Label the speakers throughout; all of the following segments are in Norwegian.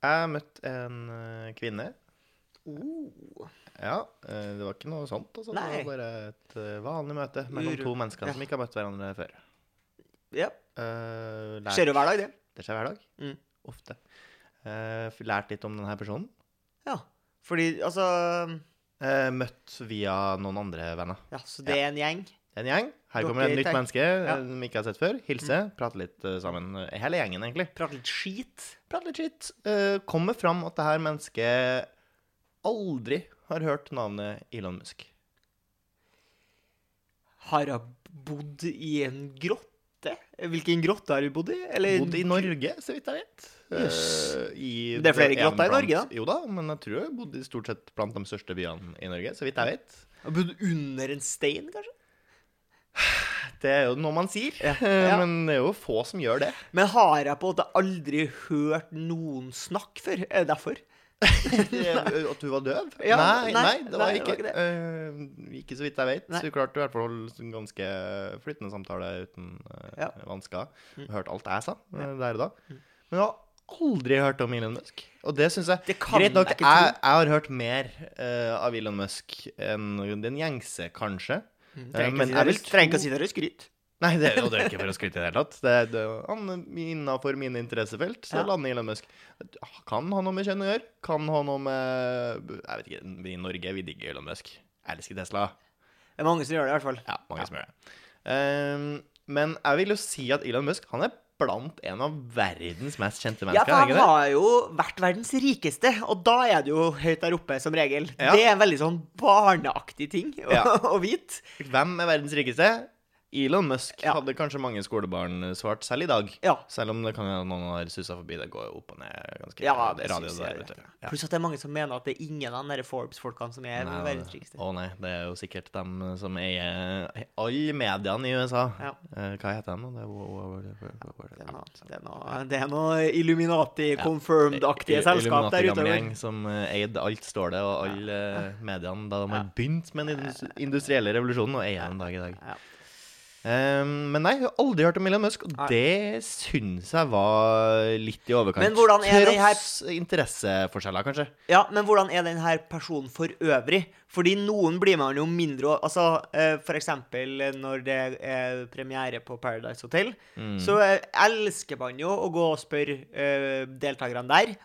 Speaker 1: Jeg møtte en eh, kvinne.
Speaker 2: Oh.
Speaker 1: Ja, eh, det var ikke noe sånt. Altså.
Speaker 2: Nei.
Speaker 1: Det var bare et eh, vanlig møte mellom
Speaker 2: Ur-
Speaker 1: to mennesker
Speaker 2: ja.
Speaker 1: som ikke har møtt hverandre før.
Speaker 2: Ja.
Speaker 1: Eh, lært-
Speaker 2: Skjer jo hver dag, det.
Speaker 1: Det skjer hver dag.
Speaker 2: Mm.
Speaker 1: Ofte. Eh, f- lært litt om denne personen.
Speaker 2: Ja. Fordi, altså
Speaker 1: Eh, møtt via noen andre venner.
Speaker 2: Ja, så det er en gjeng.
Speaker 1: En gjeng. Her
Speaker 2: Dere
Speaker 1: kommer et
Speaker 2: i
Speaker 1: nytt
Speaker 2: tenk-
Speaker 1: menneske
Speaker 2: Ja. Mm.
Speaker 1: eh, vi ikke har sett før. Hilse, prate litt eh, sammen. eh, Hele gjengen, egentlig.
Speaker 2: Prate litt skit.
Speaker 1: Prate litt skitt. Eh, kommer fram at det her mennesket aldri har hørt navnet Elon Musk.
Speaker 2: Har hun bodd i en grotte? Hvilken grotte har hun bodd i? Eller
Speaker 1: Bodd i Norge, så vidt jeg vet. Eh,
Speaker 2: Jøss.
Speaker 1: i-
Speaker 2: Det er flere
Speaker 1: en
Speaker 2: grotter i
Speaker 1: blant-
Speaker 2: Norge, da.
Speaker 1: Jo da, men jeg tror jeg bodde i stort sett blant de største byene i Norge, så vidt jeg vet.
Speaker 2: Har bodd under en stein, kanskje?
Speaker 1: Det er jo noe man sier,
Speaker 2: Ja,
Speaker 1: eh,
Speaker 2: ja.
Speaker 1: men det er jo få som gjør det.
Speaker 2: Men har jeg på en måte aldri hørt noen snakke før? Er det derfor?
Speaker 1: Eh, At du var døv?
Speaker 2: Ja,
Speaker 1: nei,
Speaker 2: nei,
Speaker 1: nei, det var
Speaker 2: nei, det
Speaker 1: ikke
Speaker 2: var
Speaker 1: det. Eh, ikke så vidt jeg vet.
Speaker 2: Nei.
Speaker 1: Så du klarte i hvert fall å holde en ganske flytende samtale uten eh,
Speaker 2: Ja. Mm.
Speaker 1: vansker. Hørte alt jeg sa eh, der og da. Men jeg har aldri hørt om Elon Musk. Og det syns jeg
Speaker 2: Det kan
Speaker 1: Greit nok,
Speaker 2: jeg
Speaker 1: jeg,
Speaker 2: ikke tro.
Speaker 1: jeg har hørt mer eh, av Elon Musk enn den gjengse, kanskje. Eh,
Speaker 2: Trenger ikke
Speaker 1: men jeg
Speaker 2: å si det er
Speaker 1: vil
Speaker 2: vel- trenger
Speaker 1: tro-
Speaker 2: ikke å si det er skryt.
Speaker 1: Nei, det, og det er ikke for å skryte i det hele tatt. Det, det, han Innafor mine interessefelt så
Speaker 2: Ja.
Speaker 1: lander Elon Musk. Kan ha noe med kjønn å gjøre? Kan ha noe med Jeg vet ikke, vi i Norge, vi digger Elon Musk. Jeg elsker Tesla.
Speaker 2: Det er mange som gjør det, i hvert fall.
Speaker 1: Ja, mange som gjør det. Ehm, men jeg vil jo si at Elon Musk han er blant en av verdens mest kjente
Speaker 2: Ja,
Speaker 1: mennesker.
Speaker 2: for
Speaker 1: er
Speaker 2: han
Speaker 1: ikke det?
Speaker 2: har jo vært verdens rikeste, og da er det jo høyt der oppe, som regel.
Speaker 1: Ja.
Speaker 2: Det er en veldig sånn barneaktig ting å,
Speaker 1: Ja.
Speaker 2: å vite.
Speaker 1: Hvem er verdens rikeste? Elon Musk
Speaker 2: Ja.
Speaker 1: hadde kanskje mange skolebarn svart selv i dag.
Speaker 2: Ja.
Speaker 1: Selv om det kan hende noen har susa forbi. Det går jo opp og ned ganske
Speaker 2: Ja, det
Speaker 1: radio
Speaker 2: synes
Speaker 1: der,
Speaker 2: jeg.
Speaker 1: vet du. Ja.
Speaker 2: Pluss at det er mange som mener at det er ingen av de der Forbes-folkene som er
Speaker 1: Nei,
Speaker 2: verdens
Speaker 1: det-
Speaker 2: rikeste.
Speaker 1: Å nei, det er jo sikkert dem som eier alle mediene i USA.
Speaker 2: Ja.
Speaker 1: Eh, hva heter de? nå? Det er wo- wo- wo- wo- wo-
Speaker 2: Det er
Speaker 1: ja.
Speaker 2: noe, det er noe, det er noe Illuminati-confirmed-aktige
Speaker 1: I-
Speaker 2: selskap der ute.
Speaker 1: Illuminati-gamle
Speaker 2: vel?
Speaker 1: gjeng som eh, eide alt, står det, og alle eh, mediene da de har begynt med den indus- industrielle revolusjonen, og eier den dag i dag.
Speaker 2: Ja.
Speaker 1: Eh, men nei, jeg har aldri hørt om Elon Musk, og
Speaker 2: Nei.
Speaker 1: det syns jeg var litt i overkant.
Speaker 2: Men hvordan er det her-
Speaker 1: Tross interesseforskjeller, kanskje.
Speaker 2: Ja, men hvordan er denne personen for øvrig? Fordi noen blir man jo mindre å- Altså, eh, for eksempel når det er premiere på Paradise Hotel,
Speaker 1: Mm.
Speaker 2: så eh, elsker man jo å gå og spørre eh, deltakerne der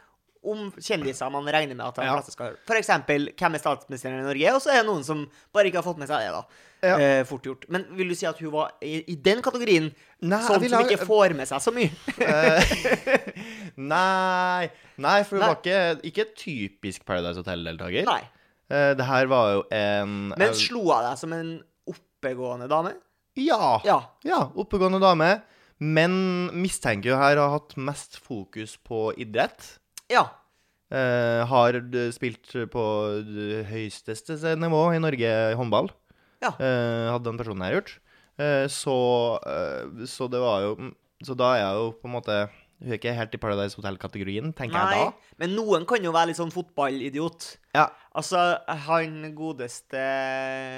Speaker 2: om kjendiser man regner med at de
Speaker 1: Ja.
Speaker 2: fleste skal høre. For eksempel, hvem er statsministeren i Norge? Og så er det noen som bare ikke har fått med seg det, da.
Speaker 1: Ja.
Speaker 2: Eh, fort gjort. Men vil du si at hun var i, i den kategorien?
Speaker 1: Nei, jeg
Speaker 2: sånn
Speaker 1: vil
Speaker 2: som
Speaker 1: ha-
Speaker 2: ikke får med seg så mye?
Speaker 1: Eh, Nei, nei for hun
Speaker 2: Nei.
Speaker 1: var ikke, ikke typisk Paradise Hotel-deltaker.
Speaker 2: Nei.
Speaker 1: Eh, det her var jo en
Speaker 2: Men
Speaker 1: eh,
Speaker 2: slo hun deg som en oppegående dame?
Speaker 1: ja, ja.
Speaker 2: Ja.
Speaker 1: oppegående dame. Men mistenker jo her har hatt mest fokus på idrett.
Speaker 2: Ja.
Speaker 1: Eh, har d- spilt på d- høyeste s- nivå i Norge i håndball.
Speaker 2: Ja.
Speaker 1: Eh, hadde den personen her gjort. Eh, så, eh, så det var jo Så da er jeg jo på en måte Hun er ikke helt i Paradise Hotel-kategorien, tenker
Speaker 2: Nei,
Speaker 1: jeg da.
Speaker 2: men noen kan jo være litt sånn fotballidiot.
Speaker 1: Ja,
Speaker 2: Altså, han godeste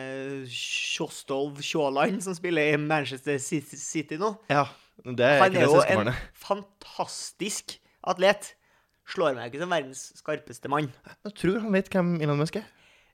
Speaker 2: eh, Kjostolv Sjåland, som spiller i Manchester City City nå,
Speaker 1: Ja, det er
Speaker 2: han
Speaker 1: ikke
Speaker 2: er
Speaker 1: det
Speaker 2: jo en
Speaker 1: søskenbarnet.
Speaker 2: fantastisk atlet. Slår meg ikke som verdens skarpeste mann.
Speaker 1: Jeg tror han vet hvem Elon Musk er.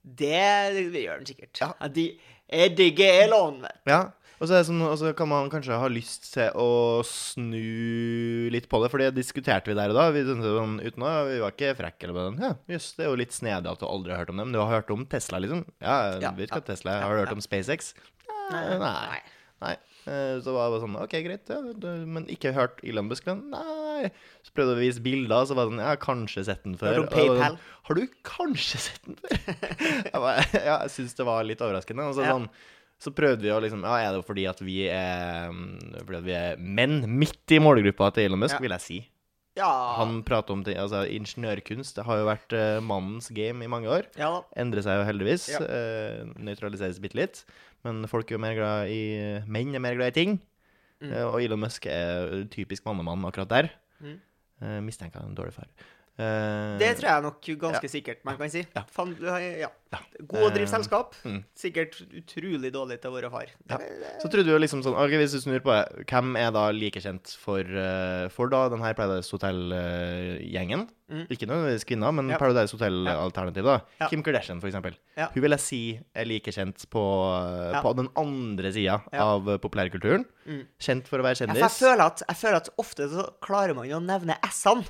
Speaker 2: Det gjør han sikkert. De, jeg digger Elon.
Speaker 1: Ja. Og så er det sånn, og så kan man kanskje ha lyst til å snu litt på det, for det diskuterte vi der og da. Vi, tenkte sånn, uten å, vi var ikke frekke eller noe. sånt. Ja, jøss, det er jo litt snedig at du aldri har hørt om dem. Du har hørt om Tesla, liksom. Ja, jeg
Speaker 2: Ja,
Speaker 1: vet
Speaker 2: ja,
Speaker 1: hva Tesla er. Har du hørt om SpaceX? Eh, Nei. Nei. Eh, Så var det bare sånn OK, greit, ja, du- men ikke hørt Elon Musk? men Nei. Så prøvde jeg å vise bilder, så var det sånn Jeg har kanskje sett den før.
Speaker 2: Hørt om
Speaker 1: Og jeg var
Speaker 2: PayPal?
Speaker 1: Sånn, har du kanskje sett den før? jeg bare, ja, jeg syns det var litt overraskende. Og så,
Speaker 2: Ja.
Speaker 1: sånn, så prøvde vi å liksom Ja, er det fordi at vi er, mm, fordi at vi er menn midt i målgruppa til Elon Musk,
Speaker 2: Ja.
Speaker 1: vil jeg si.
Speaker 2: Ja.
Speaker 1: Han prater om ting, altså ingeniørkunst. Det har jo vært eh, mannens game i mange år
Speaker 2: ja da.
Speaker 1: endrer seg jo heldigvis.
Speaker 2: Ja.
Speaker 1: eh, nøytraliseres bitte litt. Men folk er jo mer glad i Menn er mer glad i ting. Eh, og Elon Musk er typisk mannemann akkurat der.
Speaker 2: Mm.
Speaker 1: Eh, mistenker han er en dårlig far. Eh,
Speaker 2: Det tror jeg nok ganske sikkert man kan si.
Speaker 1: Ja.
Speaker 2: Fan, du har- ja.
Speaker 1: Ja.
Speaker 2: God å drive
Speaker 1: Eh,
Speaker 2: selskap.
Speaker 1: mm.
Speaker 2: Sikkert utrolig dårlig til å være far.
Speaker 1: Ja. Så trodde vi jo liksom sånn ok, Hvis du snur på det, hvem er da like kjent for, eh, for da den her Paradise Hotel-gjengen?
Speaker 2: Mm.
Speaker 1: Ikke nødvendigvis kvinner, men
Speaker 2: Ja.
Speaker 1: Paradise Hotel-alternativet. da
Speaker 2: Ja.
Speaker 1: Kim Kardashian, for eksempel.
Speaker 2: Ja.
Speaker 1: Hun vil jeg si er like kjent på, eh,
Speaker 2: Ja.
Speaker 1: på den andre sida
Speaker 2: Ja.
Speaker 1: av eh, populærkulturen.
Speaker 2: Mm.
Speaker 1: Kjent for å være
Speaker 2: Ja, for jeg,
Speaker 1: kjendis.
Speaker 2: føler at, jeg føler at ofte så klarer man jo å nevne S-ene.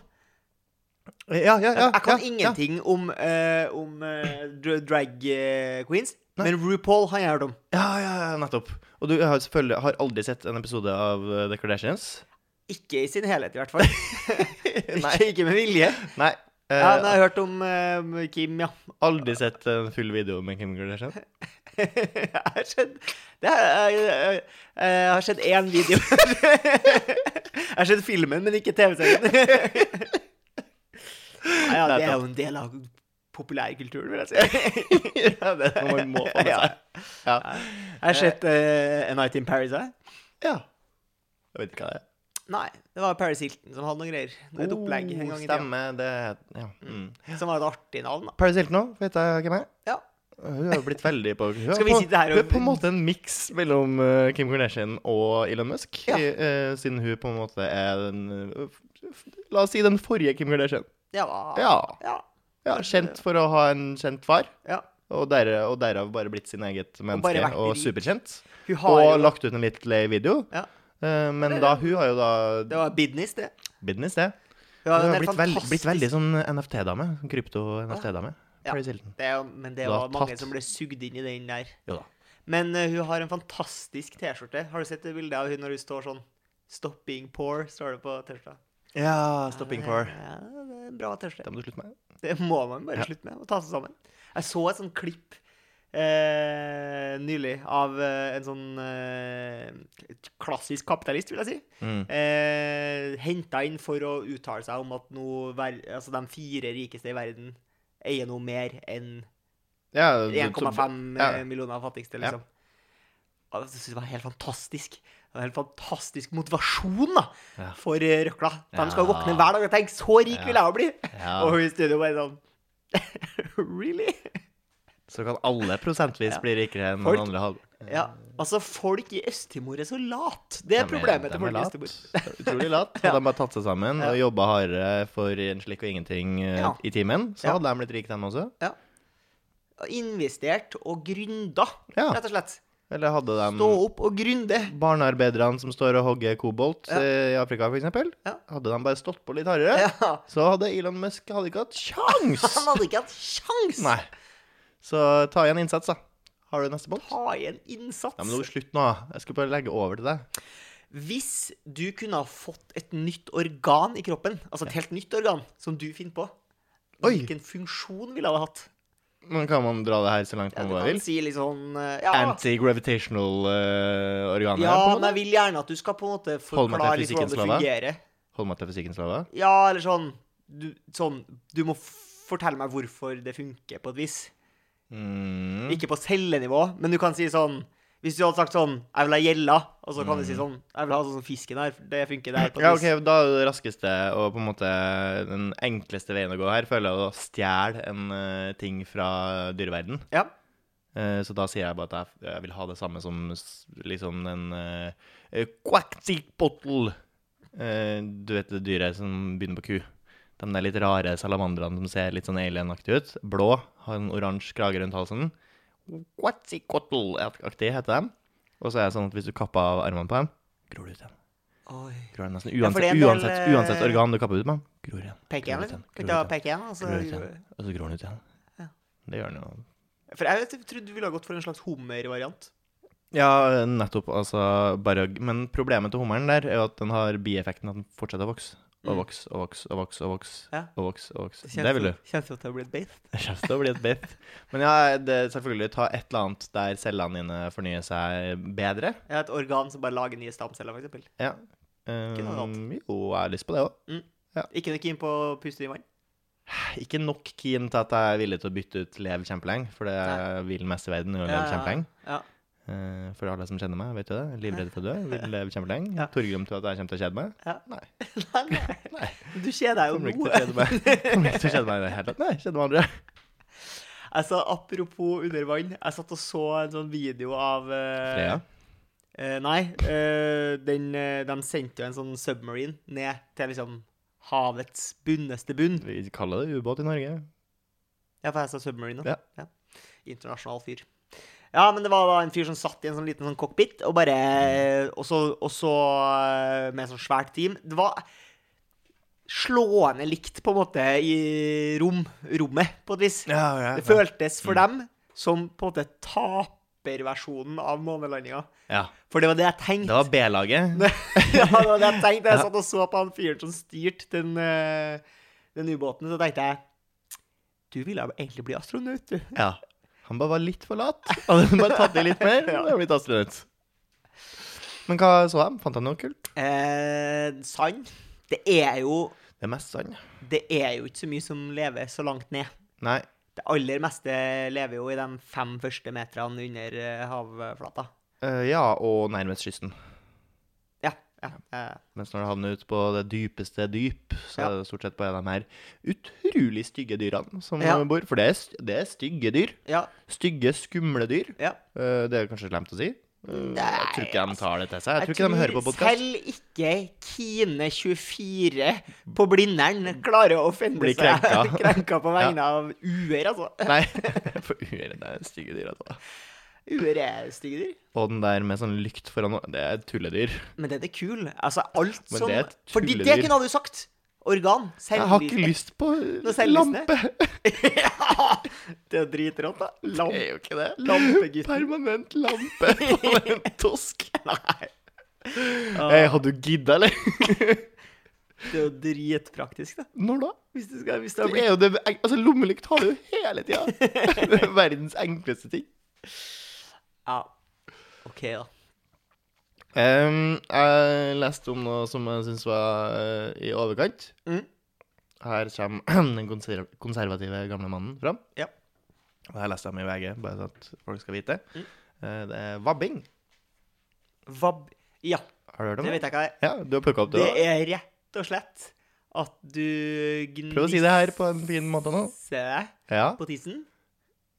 Speaker 1: Ja, ja, ja,
Speaker 2: Jeg kan
Speaker 1: ja, ja.
Speaker 2: ingenting om, eh, om eh, dra- drag eh, queens,
Speaker 1: Nei.
Speaker 2: men RuPaul har jeg hørt om.
Speaker 1: Ja, ja, ja, nettopp. Og du har selvfølgelig har aldri sett en episode av eh, The Kardashians?
Speaker 2: Ikke i sin helhet, i hvert fall. ikke, ikke med vilje.
Speaker 1: Nei. eh,
Speaker 2: Ja, men jeg har hørt om eh, Kim, ja.
Speaker 1: aldri sett en full video med Kim Kardashian?
Speaker 2: jeg har sett det er, jeg, jeg, jeg har sett én video. jeg har sett filmen, men ikke TV-serien. ja, ja, det er jo en del av populærkulturen, vil jeg si.
Speaker 1: ja, det er noe man må få med seg. Ja.
Speaker 2: Jeg har sett eh, A Night in Paris. Jeg.
Speaker 1: ja. Jeg vet ikke hva det er.
Speaker 2: Nei, det var Paris Hilton som hadde noen greier. Et opplegg en gang i tida.
Speaker 1: Stemme, det er ja. mm.
Speaker 2: Som var et artig navn, da.
Speaker 1: Paris Hilton òg, vet jeg hvem er.
Speaker 2: Ja.
Speaker 1: Hun har jo blitt veldig på hun er
Speaker 2: Skal vi
Speaker 1: på-
Speaker 2: sitte her og-
Speaker 1: Hun er på en måte en miks mellom eh, Kim Kardashian og Elon Musk,
Speaker 2: Ja.
Speaker 1: i, eh, siden hun på en måte er den eh, f- f- La oss si den forrige Kim Kardashian.
Speaker 2: Ja.
Speaker 1: Ja.
Speaker 2: ja.
Speaker 1: ja kjent for å ha en kjent far.
Speaker 2: ja.
Speaker 1: Og, der, og derav bare blitt sin eget menneske
Speaker 2: bare vært
Speaker 1: og,
Speaker 2: rik.
Speaker 1: superkjent.
Speaker 2: Hun har
Speaker 1: Og
Speaker 2: jo
Speaker 1: lagt ut en litt lei video.
Speaker 2: Ja.
Speaker 1: Eh, men da, hun har jo da
Speaker 2: Det var business, det.
Speaker 1: business, det.
Speaker 2: Hun
Speaker 1: Hun
Speaker 2: har en
Speaker 1: har
Speaker 2: helt
Speaker 1: blitt, veld, blitt
Speaker 2: fantastisk-
Speaker 1: veldig sånn NFT-dame. sånn Krypto-NFT-dame.
Speaker 2: Ja.
Speaker 1: Paris Hilton.
Speaker 2: Det er, jo- men det
Speaker 1: Du har
Speaker 2: var mange
Speaker 1: tatt-
Speaker 2: som ble sugd inn i den der.
Speaker 1: Jo da.
Speaker 2: Men eh, hun har en fantastisk T-skjorte. Har du sett det bildet av hun når hun står sånn 'Stop being poor', står det på T-skjorta.
Speaker 1: Ja, stopping for.
Speaker 2: Ja, det er en bra T-skjorte.
Speaker 1: Det må du slutte med.
Speaker 2: Det må man bare
Speaker 1: Ja.
Speaker 2: slutte med, og ta seg sammen. Jeg så et sånt klipp eh, nylig av eh, en sånn eh, klassisk kapitalist, vil jeg si.
Speaker 1: Mm.
Speaker 2: Eh, Henta inn for å uttale seg om at nå, ver- altså, de fire rikeste i verden eier noe mer enn
Speaker 1: Ja, du-
Speaker 2: 1,5
Speaker 1: ja.
Speaker 2: eh, millioner fattigste,
Speaker 1: Ja.
Speaker 2: liksom. Ja. Jeg synes det var helt fantastisk. Det var helt fantastisk motivasjon da,
Speaker 1: Ja.
Speaker 2: for eh, røkla. De skal
Speaker 1: Ja.
Speaker 2: våkne hver dag og tenke 'så rik
Speaker 1: Ja.
Speaker 2: vil jeg bli'!
Speaker 1: Ja.
Speaker 2: Og hun i studio bare sånn Really?
Speaker 1: Så kan alle prosentvis
Speaker 2: Ja.
Speaker 1: bli rikere enn
Speaker 2: Folk-
Speaker 1: den andre halv...
Speaker 2: Ja, altså Folk i Øst-Timor er så lat. Det er problemet til folk i
Speaker 1: lat.
Speaker 2: Øst-Timor.
Speaker 1: De er Utrolig lat. Hadde de bare tatt seg sammen og jobba hardere for en slikk og ingenting eh,
Speaker 2: Ja.
Speaker 1: i timen, så
Speaker 2: Ja.
Speaker 1: hadde de blitt rike, dem også.
Speaker 2: Og Investert og gründa,
Speaker 1: Ja. Um,
Speaker 2: rett og slett.
Speaker 1: Eller hadde de
Speaker 2: Stå opp og gründe.
Speaker 1: barnearbeiderne som står og hogger kobolt
Speaker 2: Ja.
Speaker 1: eh, i Afrika, for eksempel.
Speaker 2: Ja.
Speaker 1: Hadde de bare stått på litt hardere,
Speaker 2: Ja.
Speaker 1: så hadde Elon Musk hadde ikke hatt sjans!
Speaker 2: Han hadde ikke hatt sjans!
Speaker 1: Nei. Så ta igjen innsats, da. Har du neste båt?
Speaker 2: Ta igjen innsats.
Speaker 1: Ja, men nå, slutt nå. Jeg skal bare legge over til deg.
Speaker 2: Hvis du kunne ha fått et nytt organ i kroppen, altså et helt nytt organ som du finner på,
Speaker 1: Oi.
Speaker 2: hvilken funksjon ville det hatt?
Speaker 1: Men kan man dra det her så langt
Speaker 2: Ja,
Speaker 1: man
Speaker 2: du
Speaker 1: bare
Speaker 2: kan
Speaker 1: vil?
Speaker 2: si litt sånn eh, Ja,
Speaker 1: Anti-gravitational eh, organer.
Speaker 2: ja
Speaker 1: på en
Speaker 2: men jeg
Speaker 1: måte.
Speaker 2: vil gjerne at du skal på en måte
Speaker 1: Hold meg til
Speaker 2: forklare litt hvordan det
Speaker 1: fysikkens lov, da.
Speaker 2: fungerer.
Speaker 1: Hold meg til fysikkens lover.
Speaker 2: Ja, eller sånn du, sånn du må f- fortelle meg hvorfor det funker, på et vis.
Speaker 1: Mm.
Speaker 2: Ikke på cellenivå, men du kan si sånn Hvis du hadde sagt sånn 'Jeg vil ha gjella', og så kan du si sånn 'Jeg vil ha sånn som fisken her', for det funker der, på et
Speaker 1: Mm. Ja,
Speaker 2: vis.
Speaker 1: ok, Da er det raskeste og på en måte den enkleste veien å gå her, føler jeg, å stjele en eh, ting fra dyreverden.
Speaker 2: Ja.
Speaker 1: Eh, så da sier jeg bare at jeg, jeg vil ha det samme som s- liksom den uh, Quackzipotl. Eh, du vet det dyret som begynner på Q. De der litt rare salamandrene som ser litt sånn alien-aktig ut. Blå, har en oransje krage rundt halsen. Quackzipotl-aktig heter de. Og så er det sånn at hvis du kapper av armene på dem, gror det ut igjen.
Speaker 2: Oi.
Speaker 1: Gror igjen nesten
Speaker 2: Ja, for
Speaker 1: uansett,
Speaker 2: det er en del,
Speaker 1: uansett,
Speaker 2: eh,
Speaker 1: uansett organ du kapper ut med. Gror igjen.
Speaker 2: Pek
Speaker 1: gror
Speaker 2: igjen,
Speaker 1: ut
Speaker 2: liksom.
Speaker 1: igjen, gror
Speaker 2: Kan ikke ta
Speaker 1: ut
Speaker 2: pek igjen, altså. og
Speaker 1: Gror
Speaker 2: så
Speaker 1: ut igjen. Og så gror den ut igjen.
Speaker 2: Ja.
Speaker 1: Det gjør den jo.
Speaker 2: For jeg vet, jeg trodde du ville ha gått for en slags hummervariant.
Speaker 1: Ja, nettopp. Altså, bare, men problemet til hummeren der er jo at den har bieffekten at den fortsetter å vokse. Og
Speaker 2: Mm.
Speaker 1: vokse og vokse og vokse. Og vokse,
Speaker 2: Ja.
Speaker 1: og vokse, og vokse. Det vil du.
Speaker 2: Kjennes sånn. ut til å bli et beit.
Speaker 1: Kjeft å bli et biff. Men ja, det, selvfølgelig ta et eller annet der cellene dine fornyer seg bedre.
Speaker 2: Jeg har et organ som bare lager nye stamceller, for eksempel.
Speaker 1: Ja.
Speaker 2: noe
Speaker 1: Um, jo, jeg har lyst på det òg.
Speaker 2: Ikke noe keen på å puste i vann.
Speaker 1: Ikke nok keen til at jeg er villig til å bytte ut Lev kjempelenge, for det jeg vil mest i verden, er å
Speaker 2: Ja,
Speaker 1: leve
Speaker 2: ja,
Speaker 1: kjempelenge.
Speaker 2: ja.
Speaker 1: Eh, For alle som kjenner meg, vet jo det. Livredd for å dø. Vil leve kjempelenge.
Speaker 2: Ja.
Speaker 1: Torgrim tror at jeg kommer til å kjede meg.
Speaker 2: Ja.
Speaker 1: Nei.
Speaker 2: Nei, nei.
Speaker 1: Nei.
Speaker 2: Du kjeder deg jo
Speaker 1: Kommer ikke til å
Speaker 2: noe.
Speaker 1: kjede meg. Kommer ikke til å kjede meg i det hele tatt. Nei, kjeder meg aldri.
Speaker 2: Altså, apropos under vann. Jeg satt og så en sånn video av eh,
Speaker 1: Freya?
Speaker 2: eh, Nei. eh, den, eh, de sendte jo en sånn submarine ned til liksom havets bunneste bunn.
Speaker 1: Vi kaller det ubåt i Norge.
Speaker 2: Ja, for jeg sa submarine.
Speaker 1: Ja.
Speaker 2: da. ja. Internasjonal fyr. Ja, men det var da en fyr som satt i en sånn liten sånn cockpit, og bare Og så, og så eh, med sånn svært team. Det var slående likt, på en måte, i rom, rommet, på et vis.
Speaker 1: Ja, ja,
Speaker 2: Det føltes for dem som på en måte taperversjonen av månelandinga.
Speaker 1: ja.
Speaker 2: For det var det jeg
Speaker 1: Det
Speaker 2: tenkte.
Speaker 1: var B-laget.
Speaker 2: ja, det var det jeg tenkte. Jeg satt og så på han fyren som styrte den, eh, den ubåten, så tenkte jeg Du ville egentlig bli astronaut, du.
Speaker 1: Ja. Han bare var litt for lat. Hadde han bare tatt i litt mer, hadde han blitt astronaut. Men hva så de? Fant de noe kult?
Speaker 2: Eh, sand. Det er jo
Speaker 1: Det er mest sand.
Speaker 2: Det er jo ikke så mye som lever så langt ned.
Speaker 1: Nei.
Speaker 2: Det aller meste lever jo i de fem første meterne under eh, havflata.
Speaker 1: Eh, ja, og nærmest kysten.
Speaker 2: Ja. ja, eh,
Speaker 1: Mens når det havner ut på det dypeste dyp, så
Speaker 2: Ja.
Speaker 1: er det stort sett bare de her utrolig stygge dyrene som
Speaker 2: Ja.
Speaker 1: bor. For det er, st- det er stygge dyr.
Speaker 2: ja,
Speaker 1: Stygge, skumle dyr.
Speaker 2: ja.
Speaker 1: Eh, det er kanskje slemt å si. Eh, jeg tror ikke de tar det til seg. Jeg, tror ikke de hører på podkast.
Speaker 2: Selv ikke Kine24 på Blindern klarer å fende
Speaker 1: Blir
Speaker 2: seg
Speaker 1: krenka.
Speaker 2: krenka på vegne av uer, altså.
Speaker 1: Nei, for uer, det er stygge dyr. Altså.
Speaker 2: Uer er stygge dyr.
Speaker 1: Og den der med sånn lykt foran nå- Det er tulledyr.
Speaker 2: Men den er kul. Altså, alt
Speaker 1: Men
Speaker 2: som
Speaker 1: det er et
Speaker 2: Fordi det
Speaker 1: tulledyr.
Speaker 2: kunne du sagt. Organ.
Speaker 1: Jeg har
Speaker 2: Selvlyst.
Speaker 1: ikke lyst på
Speaker 2: selvlysende.
Speaker 1: lampe.
Speaker 2: ja, det er dritrått, da.
Speaker 1: Det er
Speaker 2: Lamp,
Speaker 1: jo ikke det.
Speaker 2: lampegutten.
Speaker 1: Permanent lampe på en tosk.
Speaker 2: Nei.
Speaker 1: Eh, hadde du gidda, eller?
Speaker 2: Det er jo dritpraktisk, da.
Speaker 1: Når da?
Speaker 2: Hvis du skal hvis du har
Speaker 1: Det
Speaker 2: blitt
Speaker 1: er jo det, altså Lommelykt har du jo hele tida. Det er verdens enkleste ting.
Speaker 2: Ja. OK, da.
Speaker 1: Em, jeg leste om noe som jeg syns var eh, i overkant.
Speaker 2: Mm.
Speaker 1: Her kommer den konser konservative gamle mannen fram.
Speaker 2: Ja.
Speaker 1: Og her leste jeg om i VG, bare så at folk skal vite.
Speaker 2: Mm.
Speaker 1: Eh, det er vabbing.
Speaker 2: Vab... Ja,
Speaker 1: Har du hørt om
Speaker 2: det
Speaker 1: det?
Speaker 2: vet jeg hva er.
Speaker 1: Ja, du har plukka opp det
Speaker 2: Det
Speaker 1: òg.
Speaker 2: er rett og slett at du gnisser
Speaker 1: Prøv å si det her på en fin måte nå.
Speaker 2: deg
Speaker 1: Ja.
Speaker 2: på tissen.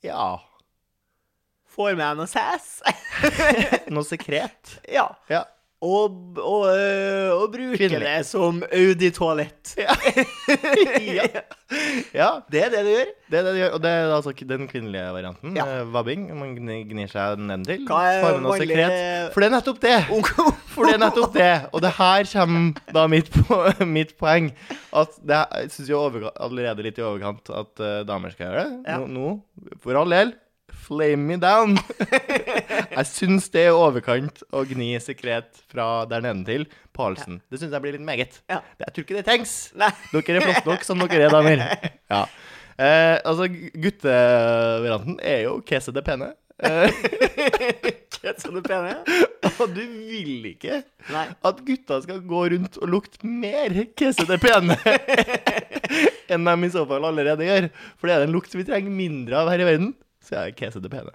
Speaker 1: ja.
Speaker 2: Får med deg noe sæs.
Speaker 1: Noe sekret.
Speaker 2: ja.
Speaker 1: Ja.
Speaker 2: Og, og, øh, og bruker
Speaker 1: Kvinnelig.
Speaker 2: det som auditoalett.
Speaker 1: Ja. Ja. ja.
Speaker 2: Det er det du gjør.
Speaker 1: Det er det de gjør, og det er altså k- den kvinnelige varianten.
Speaker 2: Ja.
Speaker 1: eh, Vabbing. Man gni- gnir seg nedentil.
Speaker 2: Hva er
Speaker 1: Får med noe
Speaker 2: vanlig-
Speaker 1: sekret. For det er nettopp det! For det er nettopp det. Og det her kommer da mitt, po mitt poeng. At det er, jeg syns jo overga- allerede litt i overkant at eh, damer skal gjøre det.
Speaker 2: Ja.
Speaker 1: Nå, nå, for all del, flame me down. jeg syns det er i overkant å gni sekret fra der nedentil på halsen. Det syns jeg blir litt meget.
Speaker 2: Ja.
Speaker 1: Det- Jeg tror ikke det trengs.
Speaker 2: Nei.
Speaker 1: Dere er flotte nok som dere er, damer. Ja. Eh, altså, gu- guttevarianten er jo kese det pene. Eh,
Speaker 2: Sånn det pene.
Speaker 1: og du vil ikke
Speaker 2: Nei.
Speaker 1: at gutta skal gå rundt og lukte mer kessete pene enn de i så fall allerede gjør. For det er en lukt vi trenger mindre av her i verden, så er det kessete pene.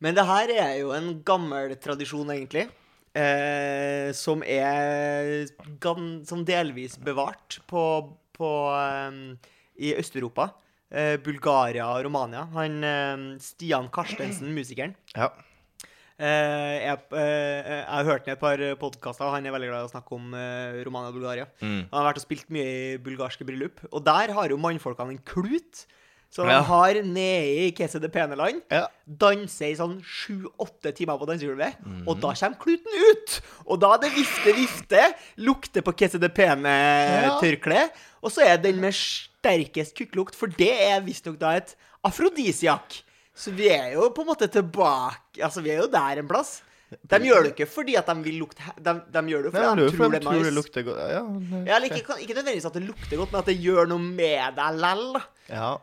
Speaker 2: Men det her er jo en gammel tradisjon, egentlig. Eh, som er gan, som delvis bevart på, på eh, i Øst-Europa. Eh, Bulgaria og Romania. Han eh, Stian Karstensen, musikeren,
Speaker 1: Ja.
Speaker 2: eh, er, eh, jeg har hørt ham i et par podkaster. Han er veldig glad i å snakke om eh, Romania og Bulgaria. Han har vært og spilt mye i bulgarske bryllup, og der har jo mannfolkene en klut. Så de
Speaker 1: Ja.
Speaker 2: har nede i Kese de Pene-land
Speaker 1: Ja.
Speaker 2: danse i sånn sju-åtte timer på dansegulvet, og da kommer kluten ut! Og da er det vifte, vifte, lukter på KCDP-tørkle, og så er den med sterkest kukklukt, for det er visstnok da et afrodisiak. Så vi er jo på en måte tilbake Altså, vi er jo der en plass. De gjør det ikke fordi at de vil lukte he- De, de gjør det jo
Speaker 1: Nei,
Speaker 2: fordi
Speaker 1: du,
Speaker 2: de tror det er nice.
Speaker 1: lukter godt Ja. det-
Speaker 2: Ja, eller ikke, kan- ikke nødvendigvis at det lukter godt, men at det gjør noe med deg lell. da.
Speaker 1: ja.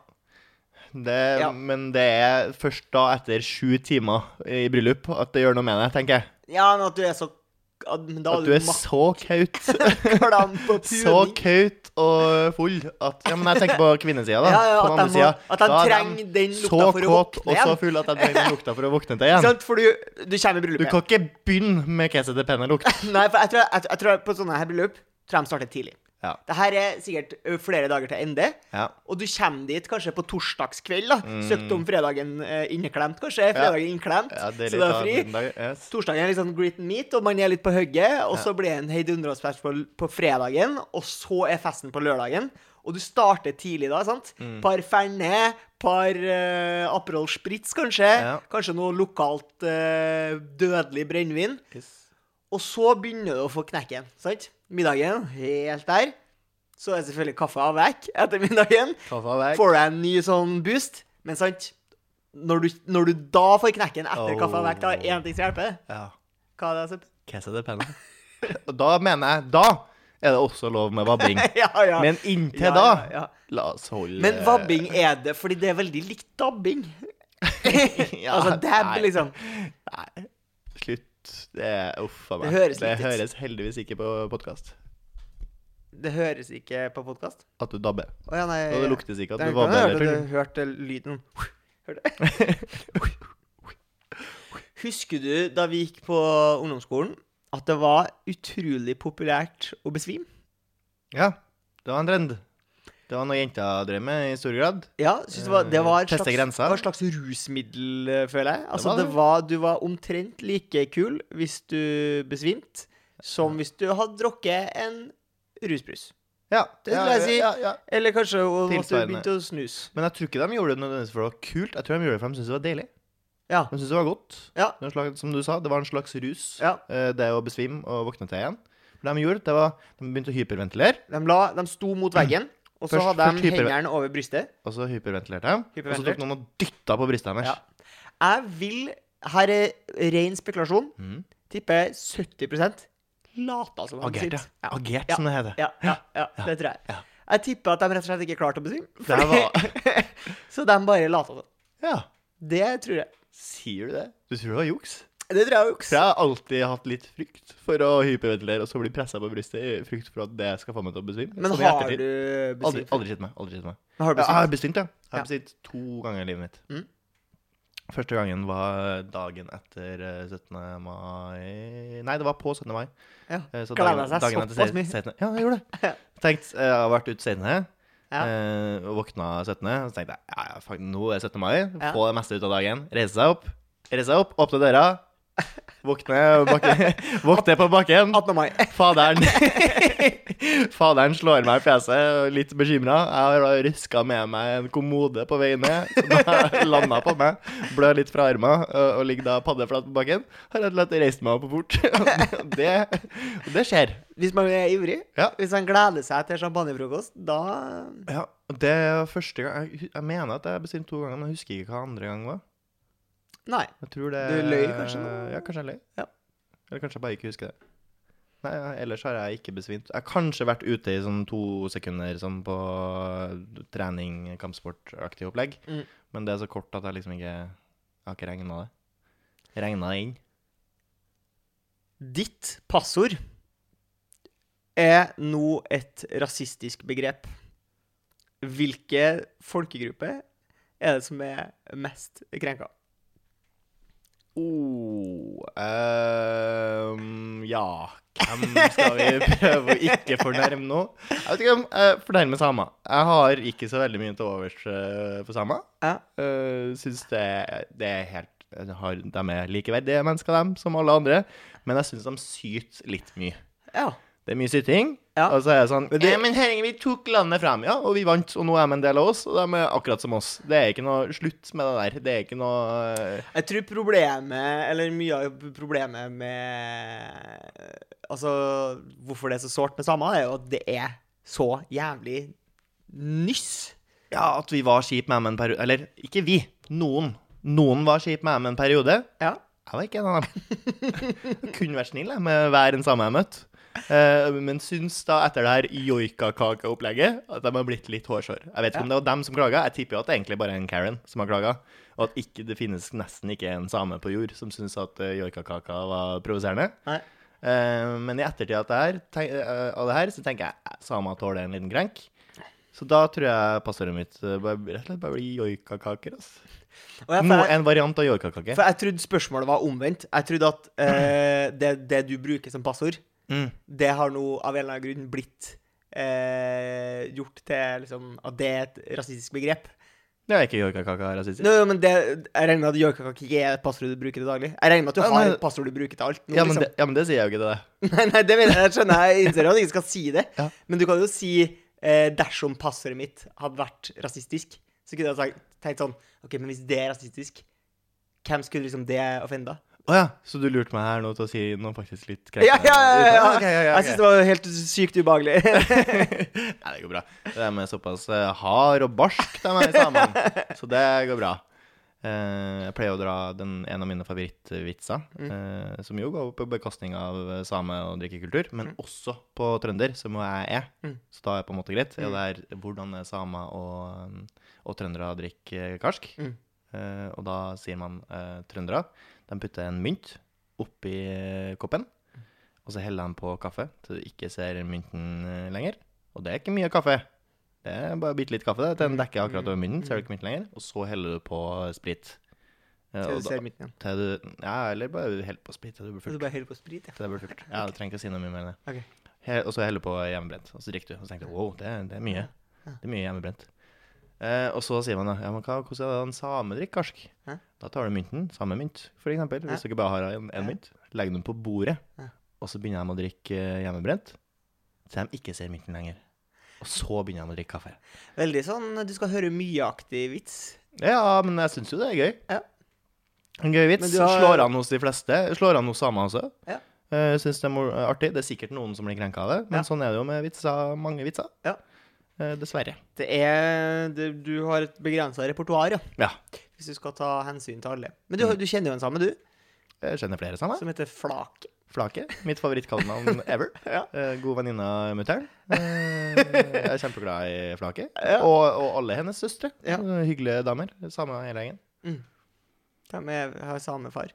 Speaker 1: Det,
Speaker 2: Ja.
Speaker 1: Men det er først da etter sju timer i bryllup at det gjør noe med deg, tenker jeg.
Speaker 2: Ja, men at du er så Ja, men da
Speaker 1: At du er så kaut.
Speaker 2: er klam på
Speaker 1: Så
Speaker 2: puning.
Speaker 1: kaut og full at Ja, men jeg tenker på kvinnesida, da.
Speaker 2: Ja, ja,
Speaker 1: på
Speaker 2: at
Speaker 1: den andre
Speaker 2: de må-
Speaker 1: sida.
Speaker 2: at de
Speaker 1: da er
Speaker 2: trenger
Speaker 1: de
Speaker 2: den lukta for å
Speaker 1: Så kåt
Speaker 2: våkne
Speaker 1: og så
Speaker 2: igjen. Sånn.
Speaker 1: full at de trenger den lukta for å våkne til
Speaker 2: Ikke
Speaker 1: igjen.
Speaker 2: sant? For du, du kommer i
Speaker 1: Du
Speaker 2: bryllupet.
Speaker 1: kan ikke begynne med hva som heter pennelukt.
Speaker 2: Nei, for jeg tror, jeg, jeg tror på sånne her bryllup tror jeg de starter tidlig.
Speaker 1: Ja.
Speaker 2: Det her er sikkert ø, flere dager til ende.
Speaker 1: Ja.
Speaker 2: Og du kommer dit kanskje på torsdagskveld. da Søkt om fredagen eh, inneklemt, kanskje. Fredagen
Speaker 1: Mm.
Speaker 2: innklemt,
Speaker 1: Ja, det er litt
Speaker 2: så det er
Speaker 1: av
Speaker 2: fri.
Speaker 1: den dag- yes.
Speaker 2: Torsdagen er litt sånn greet and meet, og man er litt på hugget. Og så blir det en heidundreårsfest på, på fredagen, og så er festen på lørdagen. Og du starter tidlig da, sant?
Speaker 1: Mm.
Speaker 2: Par Fernet, par uh, Aperol Spritz kanskje.
Speaker 1: Ja.
Speaker 2: Kanskje noe lokalt eh, dødelig brennevin. Og så begynner du å få knekken, sant? Middagen, helt der. Så er selvfølgelig kaffe av vekk etter middagen.
Speaker 1: Kaffe av vekk.
Speaker 2: Får deg en ny sånn boost. Men sant, når du, når du da får knekken etter
Speaker 1: Oh.
Speaker 2: kaffe av vekk, da er det én ting som hjelper.
Speaker 1: Ja.
Speaker 2: Hva er det, Sepp?
Speaker 1: Hva som heter penne. Og da mener jeg Da er det også lov med vabbing.
Speaker 2: Ja, ja.
Speaker 1: Men inntil
Speaker 2: Ja,
Speaker 1: da
Speaker 2: ja, ja.
Speaker 1: La oss holde
Speaker 2: Men vabbing er det fordi det er veldig likt dabbing.
Speaker 1: Ja,
Speaker 2: altså dab,
Speaker 1: nei.
Speaker 2: liksom.
Speaker 1: Nei, slutt. Det er uff a meg.
Speaker 2: Det høres litt ut.
Speaker 1: høres heldigvis ikke på podkast.
Speaker 2: Det høres ikke på podkast.
Speaker 1: At du dabber.
Speaker 2: Å ja, nei.
Speaker 1: Og det luktes ikke at
Speaker 2: Jeg
Speaker 1: du
Speaker 2: kan
Speaker 1: vabber.
Speaker 2: høre
Speaker 1: eller
Speaker 2: det,
Speaker 1: tull.
Speaker 2: du hørte lyden. Hørte. Husker du da vi gikk på ungdomsskolen, at det var utrolig populært å besvime?
Speaker 1: Ja, det var en trend. Det var noe jenta drev med i stor grad.
Speaker 2: Ja, synes det, var, det var
Speaker 1: Eh,
Speaker 2: et
Speaker 1: Teste
Speaker 2: slags,
Speaker 1: grensa.
Speaker 2: det var et slags rusmiddel, eh, føler jeg. Altså,
Speaker 1: var
Speaker 2: det
Speaker 1: det.
Speaker 2: var, du var omtrent like kul hvis du besvimte, som hvis du hadde drukket en rusbrus.
Speaker 1: Ja,
Speaker 2: Det
Speaker 1: ja,
Speaker 2: vil jeg si.
Speaker 1: Ja, ja.
Speaker 2: Eller kanskje om at du
Speaker 1: Tilsvarende.
Speaker 2: begynte å snuse.
Speaker 1: Men jeg tror ikke de gjorde det nødvendigvis for det var kult. Jeg tror de gjorde det for de syntes det var deilig.
Speaker 2: Ja.
Speaker 1: De syntes det var godt.
Speaker 2: Ja.
Speaker 1: Det var en slags, som du sa, det var en slags rus,
Speaker 2: Ja.
Speaker 1: eh, det å besvime og våkne til igjen. For de gjorde, det var, De begynte å hyperventilere,
Speaker 2: De, la, de sto mot veggen, og så
Speaker 1: Først-
Speaker 2: hadde
Speaker 1: først
Speaker 2: de
Speaker 1: hyper-
Speaker 2: hendene over brystet.
Speaker 1: og så hyperventilerte de. Og så
Speaker 2: Hyperventilert.
Speaker 1: tok noen og dytta på brystet hennes.
Speaker 2: Ja. Jeg vil Her er ren spekulasjon.
Speaker 1: Mhm.
Speaker 2: Tipper 70 lata som han
Speaker 1: Agert, ja.
Speaker 2: sitter. Ja.
Speaker 1: Agert,
Speaker 2: Ja.
Speaker 1: som det heter.
Speaker 2: Ja, ja, ja, det tror jeg.
Speaker 1: Ja.
Speaker 2: Jeg tipper at de rett og slett ikke klarte å besvime.
Speaker 1: Det var
Speaker 2: Så de bare lata som.
Speaker 1: Ja.
Speaker 2: Det tror jeg.
Speaker 1: Sier du det? Du tror det var juks?
Speaker 2: Det tror jeg
Speaker 1: For
Speaker 2: også.
Speaker 1: jeg har alltid hatt litt frykt for å hyperventilere og så bli pressa på brystet i frykt for at det skal få meg til å besvime.
Speaker 2: Men
Speaker 1: Sånn i
Speaker 2: har
Speaker 1: ettertid.
Speaker 2: du
Speaker 1: Aldri,
Speaker 2: besvimt?
Speaker 1: aldri sett meg. aldri sett meg.
Speaker 2: Men Har du
Speaker 1: Ja, Jeg
Speaker 2: besvimt?
Speaker 1: har besvimt, ja. Jeg har
Speaker 2: Ja.
Speaker 1: besvimt to ganger i livet mitt.
Speaker 2: Mm.
Speaker 1: Første gangen var dagen etter eh, 17. mai Nei, det var på 17. mai.
Speaker 2: Ja.
Speaker 1: Eh, Så
Speaker 2: Gleder
Speaker 1: dagen-
Speaker 2: seg
Speaker 1: dagen etter
Speaker 2: såpass mye.
Speaker 1: 16. Ja, jeg gjorde det.
Speaker 2: Ja.
Speaker 1: Tenkt, eh, jeg har vært ute 16.
Speaker 2: Ja.
Speaker 1: eh, og våkna 17. Og så tenkte jeg ja, ja, fuck, nå er 17. mai.
Speaker 2: Ja.
Speaker 1: Få det meste ut av dagen. Reise seg opp. Reise seg opp, åpne døra. Våkne, bakke, våkne på bakken.
Speaker 2: 18. mai.
Speaker 1: Faderen Faderen slår meg i fjeset, og litt bekymra. Jeg har ryska med meg en kommode på vei ned, som landa på meg. Blør litt fra armen og og ligger da paddeflat på bakken. Har rett og slett reist meg opp og bort. Og Det, og det skjer.
Speaker 2: Hvis man er ivrig,
Speaker 1: Ja.
Speaker 2: hvis man gleder seg til champagnefrokost, da
Speaker 1: Ja, og det er første gang Jeg, jeg mener at jeg bestemte to ganger, men jeg husker ikke hva andre gang var.
Speaker 2: Nei.
Speaker 1: Jeg tror det
Speaker 2: Du løy kanskje nå?
Speaker 1: Ja, kanskje jeg løy.
Speaker 2: Ja.
Speaker 1: Eller kanskje jeg bare ikke husker det. Nei, ja, ellers har jeg ikke besvimt. Jeg har kanskje vært ute i sånn to sekunder sånn på eh, trening, kampsportaktig opplegg.
Speaker 2: Mm.
Speaker 1: Men det er så kort at jeg liksom ikke Jeg har ikke regna det. Regna det inn.
Speaker 2: Ditt passord er nå et rasistisk begrep. Hvilke folkegruppe er det som er mest krenka?
Speaker 1: Oh, ehm, ja Hvem skal vi prøve å ikke fornærme nå? Jeg vet ikke om uh, fornærme samer. Jeg har ikke så veldig mye til overs eh, for samer.
Speaker 2: Ja.
Speaker 1: Uh, syns det, det er helt jeg har, De er likeverdige mennesker, dem, som alle andre. Men jeg syns de syter litt mye.
Speaker 2: Ja.
Speaker 1: Det er mye syting.
Speaker 2: Ja.
Speaker 1: Og så er det sånn
Speaker 2: Men det-
Speaker 1: «Eh, Men herregud, vi tok landet frem, ja, og vi vant, og nå er de en del av oss, og de er akkurat som oss. Det er ikke noe slutt med det der. Det er ikke noe eh,
Speaker 2: Jeg tror problemet, eller mye av problemet med Altså, hvorfor det er så sårt med samer, er jo at det er så jævlig nyss.
Speaker 1: Ja, at vi var kjip med dem en periode Eller ikke vi, noen. Noen var kjip med dem en periode.
Speaker 2: Ja.
Speaker 1: Jeg var ikke en av dem. Jeg kunne vært snill jeg, med hver en same jeg møtte. Eh, men syns da, etter det her joikakakeopplegget, at de har blitt litt hårsår. Jeg vet ikke om det var dem som klaga. Jeg tipper jo at det egentlig bare er en Karen som har klaga. Og at ikke, det finnes nesten ikke en same på jord som syns at uh, joikakaka eh, var provoserende.
Speaker 2: Nei.
Speaker 1: Eh, men i ettertid av det, her, tenk, eh, av det her, så tenker jeg eh, samer tåler en liten krenk. Så da tror jeg passordet mitt eh, bare, rett og slett bare blir joikakaker. ass.
Speaker 2: Og jeg,
Speaker 1: Noe,
Speaker 2: for, jeg,
Speaker 1: en variant av joikakake.
Speaker 2: for jeg trodde spørsmålet var omvendt. Jeg trodde at eh, det, det du bruker som passord,
Speaker 1: Mm.
Speaker 2: det har nå av en eller annen grunn blitt eh, gjort til liksom, at det er et rasistisk begrep.
Speaker 1: Det er ikke joikakaka rasistisk.
Speaker 2: Nå, jo, men det, Jeg regner med at joikakake ikke er et passord du bruker til daglig. Jeg regner med at du
Speaker 1: Ja,
Speaker 2: har
Speaker 1: men-
Speaker 2: et passord du bruker til alt. Nå,
Speaker 1: Ja men,
Speaker 2: liksom.
Speaker 1: det, ja, men det sier jeg jo ikke til deg.
Speaker 2: Nei, nei, det mener jeg. Jeg skjønner jeg innser at jeg ikke skal si det.
Speaker 1: Ja.
Speaker 2: Men du kan jo si eh, dersom passordet mitt hadde vært rasistisk, så kunne jeg sagt, tenkt sånn OK, men hvis det er rasistisk, hvem skulle liksom det offenda?
Speaker 1: Å ja, så du lurte meg her nå til å si noe faktisk litt
Speaker 2: Ja, ja,
Speaker 1: krenkende?
Speaker 2: ja! ja, ja.
Speaker 1: Ok, ja, ja,
Speaker 2: Jeg
Speaker 1: ok.
Speaker 2: syns det var helt sykt ubehagelig.
Speaker 1: Nei, det går bra. Det er med såpass eh, hard og barsk de er samene, så det går bra. Eh, jeg pleier å dra den, en av mine favorittvitser, eh, som jo går på bekostning av eh, same- og drikkekultur, men også på trønder, som jo jeg er.
Speaker 2: Mm.
Speaker 1: Så da er det på en måte greit. Og det er hvordan er samer og, og trøndere drikker karsk.
Speaker 2: Mm.
Speaker 1: Eh, og da sier man eh, trøndere. De putter en mynt oppi eh, koppen, og så heller de på kaffe til du ikke ser mynten eh, lenger. Og det er ikke mye kaffe. Det er bare bitte litt kaffe det, til
Speaker 2: Mm.
Speaker 1: den dekker akkurat over mynten, ser du ikke mynten lenger. Og så heller du på sprit. Eh,
Speaker 2: Så
Speaker 1: og
Speaker 2: du
Speaker 1: da-
Speaker 2: ser midten igjen.
Speaker 1: til du, ja, eller bare hell på sprit til du blir
Speaker 2: Og
Speaker 1: full.
Speaker 2: du bare heller på sprit, ja.
Speaker 1: Til det blir fullt. Ja, du trenger ikke si noe mye mer enn det.
Speaker 2: Ok.
Speaker 1: He- Og så heller på hjemmebrent. Og så drikker du. Og så tenker du wow, det, er- det er mye.
Speaker 2: Ja.
Speaker 1: Det er mye hjemmebrent. Eh, og så sier man da ja, men hva, hvordan er det en same drikker karsk?
Speaker 2: Hæ?
Speaker 1: Da tar du mynten, samme mynt, for eksempel. Hvis
Speaker 2: Ja.
Speaker 1: dere bare har en, en
Speaker 2: Ja.
Speaker 1: mynt, legger den på bordet,
Speaker 2: Ja.
Speaker 1: og så begynner de å drikke eh, hjemmebrent til de ikke ser mynten lenger. Og så begynner de å drikke kaffe.
Speaker 2: Veldig sånn du skal høre myeaktig vits.
Speaker 1: Ja, men jeg syns jo det er gøy.
Speaker 2: Ja.
Speaker 1: En gøy vits.
Speaker 2: Men du har-
Speaker 1: Slår an hos de fleste. Slår an hos samer også.
Speaker 2: Ja.
Speaker 1: Eh, syns det er mor- artig. Det er sikkert noen som blir krenka av det, men
Speaker 2: Ja.
Speaker 1: sånn er det jo med vitser, mange vitser.
Speaker 2: Ja.
Speaker 1: Eh, dessverre.
Speaker 2: Det er det, Du har et begrensa repertoar, ja.
Speaker 1: Ja.
Speaker 2: Hvis du skal ta hensyn til alle. Men du, du kjenner jo en same, du,
Speaker 1: Jeg kjenner flere sammen.
Speaker 2: som heter Flake.
Speaker 1: Flake. Mitt favorittkallenavn ever.
Speaker 2: Ja.
Speaker 1: Eh, god venninne av mutter'n. Eh, jeg er kjempeglad i Flake.
Speaker 2: Ja.
Speaker 1: Og, og alle hennes søstre.
Speaker 2: Ja.
Speaker 1: Eh, Hyggelige damer. Samme hele gjengen.
Speaker 2: De er, har samme far.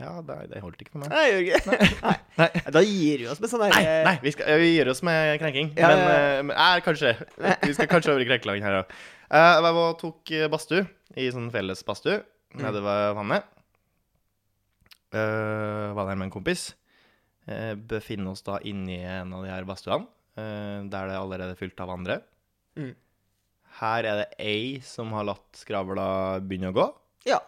Speaker 1: Ja, det, det holdt ikke for meg.
Speaker 2: Nei, Jørgen. Nei.
Speaker 1: Nei.
Speaker 2: Da gir vi oss med sånn
Speaker 1: Nei,
Speaker 2: derre
Speaker 1: nei Eh, vi, skal, vi gir oss med krenking.
Speaker 2: Ja,
Speaker 1: men
Speaker 2: ja, ja.
Speaker 1: eh, men eh, kanskje. Vi skal kanskje over i krenkeland her òg. jeg var og tok eh, badstue i sånn felles badstue
Speaker 2: Mm.
Speaker 1: nede ved vannet. Eh, var der med en kompis. Eh, befinner oss da inni en av de her badstuene, eh, der det allerede er fylt av andre.
Speaker 2: Mm.
Speaker 1: Her er det ei som har latt skravla begynne å gå.
Speaker 2: Ja.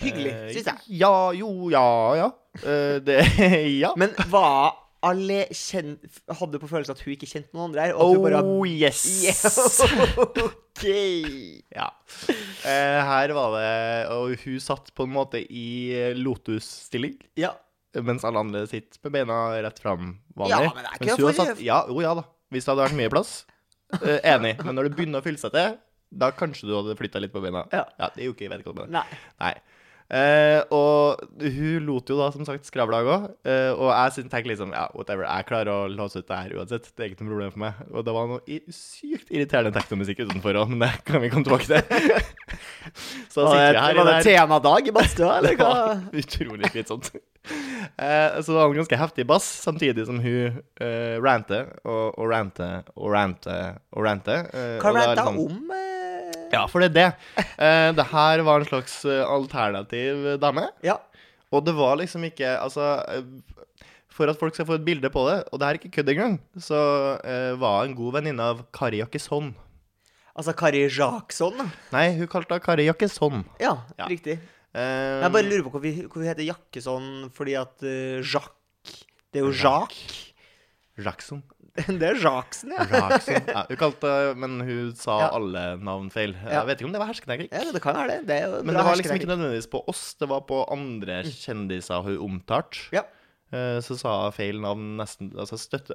Speaker 2: Hyggelig,
Speaker 1: Eh,
Speaker 2: syns jeg.
Speaker 1: Ja, jo, ja, ja. Eh, det Ja.
Speaker 2: Men var alle kjent Hadde du på følelsen at hun ikke kjente noen andre her? Og at hun bare
Speaker 1: Oh yes!
Speaker 2: yeah. OK.
Speaker 1: Ja. Eh, her var det Og hun satt på en måte i eh, lotus-stilling,
Speaker 2: Ja.
Speaker 1: mens alle andre sitter med beina rett fram.
Speaker 2: Ja,
Speaker 1: Vanlig.
Speaker 2: men det er ikke
Speaker 1: Mens hun har
Speaker 2: for-
Speaker 1: satt, ja, jo, ja da. Hvis det hadde vært mye plass. Eh, enig. Men når det begynner å fylle seg til, da kanskje du hadde flytta litt på beina.
Speaker 2: Ja.
Speaker 1: det er jo ikke vedkommende.
Speaker 2: Nei.
Speaker 1: Nei. Eh, og hun lot jo da som sagt skravla gå, eh, og jeg syn- tenker liksom ja, whatever, jeg klarer å låse ut det her uansett. Det er ikke noe problem for meg. Og det var noe i, sykt irriterende teknomusikk utenfor òg, men det kan vi komme tilbake til. Så da
Speaker 2: Var
Speaker 1: sitter vi
Speaker 2: det,
Speaker 1: her i
Speaker 2: var
Speaker 1: det
Speaker 2: det
Speaker 1: her.
Speaker 2: temadag i badstua, eller
Speaker 1: Det
Speaker 2: hva?
Speaker 1: var utrolig slitsomt. Eh, så det var en ganske heftig bass, samtidig som hun eh, ranter og, og ranter og ranter og ranter. eh,
Speaker 2: Hva
Speaker 1: og det er
Speaker 2: ranta
Speaker 1: sånn-
Speaker 2: om? eh?
Speaker 1: Ja, for det er det. Eh, det her var en slags eh, alternativ eh, dame.
Speaker 2: ja.
Speaker 1: Og det var liksom ikke Altså eh, For at folk skal få et bilde på det, og det er ikke kødd engang, så eh, var en god venninne av Kari Jakkesson.
Speaker 2: Altså Kari Jackson? da.
Speaker 1: Nei, hun kalte henne Kari Jakkesson.
Speaker 2: Ja,
Speaker 1: Ja.
Speaker 2: riktig.
Speaker 1: Eh,
Speaker 2: Jeg bare lurer på hvorfor vi- hvorfor vi heter Jakkesson fordi at eh, Jacques Det er jo
Speaker 1: Jacques.
Speaker 2: Jacques.
Speaker 1: Jackson.
Speaker 2: Det er Jackson, ja.
Speaker 1: Jackson. Ja, hun kalte eh, Men hun sa
Speaker 2: Ja.
Speaker 1: alle navn feil.
Speaker 2: Ja.
Speaker 1: Jeg vet ikke om det var hersketeknikk.
Speaker 2: Ja, det kan være det. Det er jo
Speaker 1: Men det var liksom ikke nødvendigvis på oss, det var på andre kjendiser hun omtalte.
Speaker 2: Mm. Ja.
Speaker 1: Eh, Så sa hun feil navn nesten Altså støtte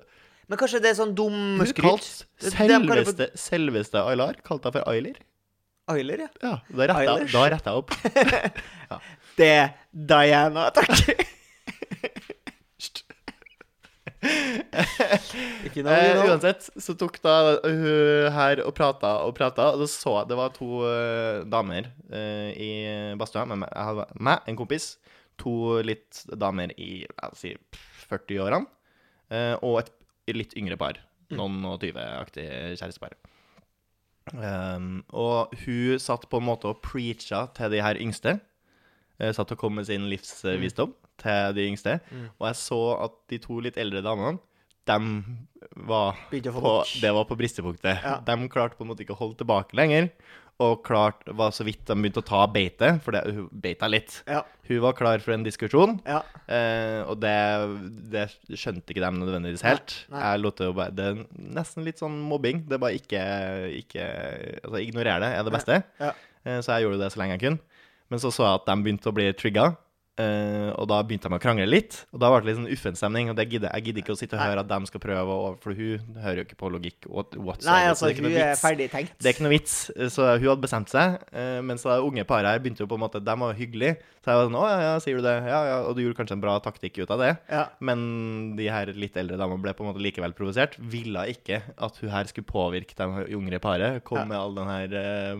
Speaker 2: Men kanskje det er sånn dum
Speaker 1: Hun
Speaker 2: skryt?
Speaker 1: kalte
Speaker 2: Det- det de kaller for-
Speaker 1: selveste, selveste Aylar kalte hun for Ayler.
Speaker 2: Eiler, ja.
Speaker 1: Ja, da retta-
Speaker 2: Eilers.
Speaker 1: da retta jeg opp.
Speaker 2: Det er Diana, takk. ikke noe
Speaker 1: Eh,
Speaker 2: lyd nå.
Speaker 1: uansett, så tok da hun her og prata og prata, og da så jeg det var to eh, damer eh, i badstua med meg, jeg hadde- meg, en kompis, to litt damer i la oss si, 40-årene, eh, og et litt yngre par.
Speaker 2: Mm.
Speaker 1: Noen og tyve-aktig kjærestepar. Ehm, og hun satt på en måte og preacha til de her yngste. Eh, satt og kom med sin
Speaker 2: Mm.
Speaker 1: livsvisdom til de yngste. Og jeg så at de to litt eldre damene, dem var
Speaker 2: Begynte å få
Speaker 1: på,
Speaker 2: nok.
Speaker 1: det var på bristepunktet.
Speaker 2: Ja.
Speaker 1: De klarte på en måte ikke å holde tilbake lenger. Og klart var så vidt de begynte å ta beite, for det, hun beita litt.
Speaker 2: Ja.
Speaker 1: Hun var klar for en diskusjon,
Speaker 2: Ja.
Speaker 1: eh, og det, det skjønte ikke de nødvendigvis helt.
Speaker 2: Nei, nei.
Speaker 1: Jeg lot det jo bare Det er nesten litt sånn mobbing. Det er bare ikke, ikke Altså, ignorer det er det beste.
Speaker 2: Ja.
Speaker 1: Eh, så jeg gjorde det så lenge jeg kunne. Men så så jeg at de begynte å bli trigga. eh, og da begynte de å krangle litt, og da ble det litt sånn uffen stemning. Og det gidder, jeg gidder ikke å sitte og
Speaker 2: Nei.
Speaker 1: høre at de skal prøve å For hun hører jo ikke på logikk. What, whatsoever,
Speaker 2: Nei,
Speaker 1: så det
Speaker 2: altså,
Speaker 1: er ikke
Speaker 2: hun
Speaker 1: noe
Speaker 2: er
Speaker 1: vits.
Speaker 2: ferdig tenkt.
Speaker 1: Det er ikke noe vits. Så hun hadde bestemt seg. eh, Mens det unge paret her begynte jo på en måte De var jo hyggelige. Så jeg var sånn Å ja, ja, sier du det? Ja, ja. Og du gjorde kanskje en bra taktikk ut av det.
Speaker 2: Ja.
Speaker 1: Men de her litt eldre damene ble på en måte likevel provosert. Ville ikke at hun her skulle påvirke de yngre paret. Kom
Speaker 2: Ja.
Speaker 1: med all den her eh,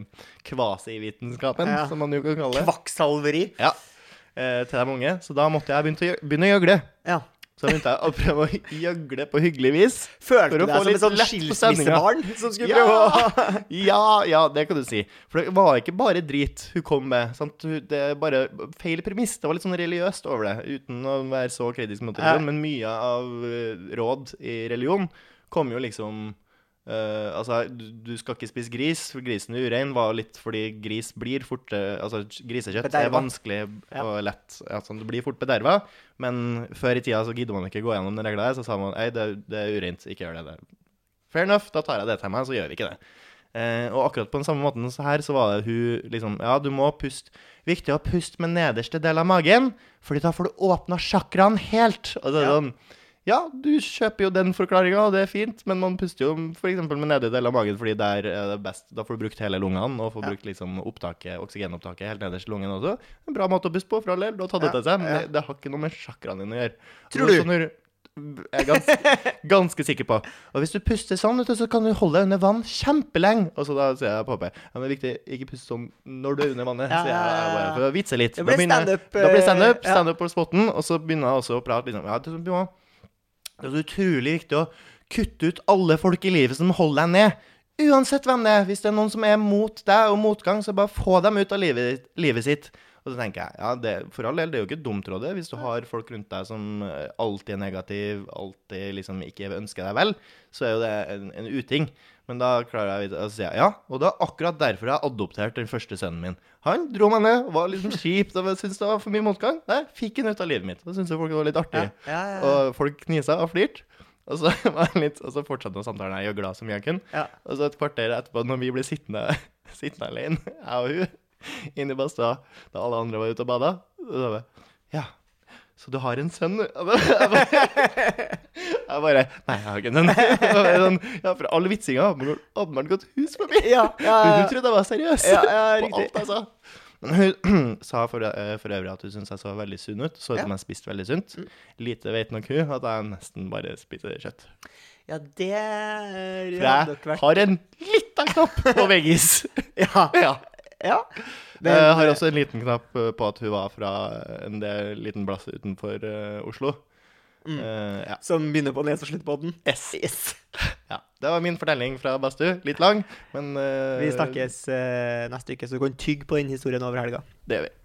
Speaker 1: kvasivitenskapen,
Speaker 2: Ja.
Speaker 1: som man jo kan kalle det.
Speaker 2: Kvakksalveri.
Speaker 1: Ja. Eh, Til de unge. Så da måtte jeg begynne å gjø- begynne å gjøgle.
Speaker 2: Ja.
Speaker 1: Så begynte jeg å prøve å gjøgle på hyggelig vis.
Speaker 2: Følte
Speaker 1: For å
Speaker 2: du
Speaker 1: få
Speaker 2: deg som
Speaker 1: litt
Speaker 2: et sånn
Speaker 1: lett på stemninga.
Speaker 2: skilsmissebarn som skulle prøve å
Speaker 1: Ja! ja, ja, det kan du si. For det var ikke bare drit hun kom med. Sant? Hun- Det er bare feil premiss. Det var litt sånn religiøst over det, uten å være så kritisk mot religion.
Speaker 2: Ja.
Speaker 1: Men mye av eh, råd i religion kom jo liksom eh, altså, du, du skal ikke spise gris, for grisen er urein. Var litt fordi gris blir fort eh, Altså, grisekjøtt er
Speaker 2: Bederva.
Speaker 1: vanskelig og lett. Altså, det blir fort bederva. Men før i tida så gidder man ikke gå gjennom den regla her, så sa man Ei, det, er- det er ureint, ikke gjør det. det. er- Fair enough, da tar jeg det til meg, så gjør vi ikke det. Eh, og akkurat på den samme måten så her så var det hun liksom Ja, du må puste Viktig å puste med nederste del av magen, Fordi da får du åpna chakraen helt. Og så er det
Speaker 2: Ja.
Speaker 1: sånn Ja, du kjøper jo den forklaringa, og det er fint, men man puster jo f.eks. med nedre del av magen, fordi der er det best Da får du brukt hele lungene, og får
Speaker 2: Ja.
Speaker 1: brukt liksom opptaket, oksygenopptaket helt nederst i lungen også. En bra måte å puste på, for all del. Du har tatt det
Speaker 2: Ja,
Speaker 1: til seg, men
Speaker 2: ja.
Speaker 1: det, det har ikke noe med chakraen din å gjøre.
Speaker 2: Tror
Speaker 1: Det er
Speaker 2: du?
Speaker 1: sånn når- Jeg er ganske, ganske sikker på. Og hvis du puster sånn, vet du, så kan du holde deg under vann kjempelenge. Og så da sier jeg på HP ja, men det er viktig, ikke puste sånn når du er under vannet.
Speaker 2: Ja,
Speaker 1: sier jeg, jeg bare, for å vitse litt. Da
Speaker 2: Det blir
Speaker 1: begynner jeg-
Speaker 2: stand-up,
Speaker 1: Da blir det standup.
Speaker 2: eh, ja.
Speaker 1: Standup på spotten. Og så begynner jeg også å prate liksom, ja, det er så- du må- det er så utrolig viktig å kutte ut alle folk i livet som holder deg ned. Uansett hvem det er. Hvis det er noen som er mot deg og motgang, så bare få dem ut av livet, ditt- livet sitt. Og så tenker jeg, ja, det, for all del, det er jo ikke et dumt råd, det. Hvis du har folk rundt deg som eh, alltid er negativ, alltid liksom ikke ønsker deg vel, så er jo det en, en uting. Men da klarer jeg å si ja. Og det er akkurat derfor jeg har adoptert den første sønnen min. Han dro meg ned, og var liksom kjipt, og syntes det var for mye motgang. Nei, fikk han ut av livet mitt. Da syntes jo folk det var litt artig.
Speaker 2: Ja, ja, ja.
Speaker 1: Og folk knisa og flirte. Og så, var jeg litt, og så fortsatte nå samtalen jeg gjøgla så mye jeg kunne.
Speaker 2: Ja.
Speaker 1: Og så et kvarter etterpå, når vi ble sittende, sittende alene, jeg og hun, inne i badstua, da alle andre var ute og bada, så sa jeg Ja, så du har en sønn, du? Og da- Jeg bare, jeg bare Nei, jeg har ikke en sønn. Det var sånn, Ja, for all vitsinga har åpenbart- åpenbart gått hus forbi.
Speaker 2: Ja, ja,
Speaker 1: Hun
Speaker 2: ja.
Speaker 1: hun trodde jeg var seriøs
Speaker 2: Ja, ja,
Speaker 1: på
Speaker 2: riktig.
Speaker 1: alt jeg sa. Men hun sa for, eh, for øvrig at hun syntes jeg så veldig sunn ut. Så ut
Speaker 2: Ja. Mm.
Speaker 1: som jeg spiste veldig sunt. Lite vet nok hun at jeg nesten bare spiser kjøtt.
Speaker 2: Ja, det eh,
Speaker 1: For
Speaker 2: hadde nok
Speaker 1: jeg
Speaker 2: vært
Speaker 1: har en liten knapp på veggis.
Speaker 2: Ja.
Speaker 1: ja. Eh,
Speaker 2: ja. Men,
Speaker 1: jeg har også en liten knapp eh, på at hun var fra en del liten plass utenfor eh, Oslo.
Speaker 2: Mm.
Speaker 1: Eh, ja.
Speaker 2: Som begynner på nes og slutter på den.
Speaker 1: Yes.
Speaker 2: Yes.
Speaker 1: ja. Det var min fortelling fra badstue. Litt lang, men eh,
Speaker 2: Vi snakkes eh, neste uke, så du kan tygge på den historien over helga.
Speaker 1: Det gjør vi.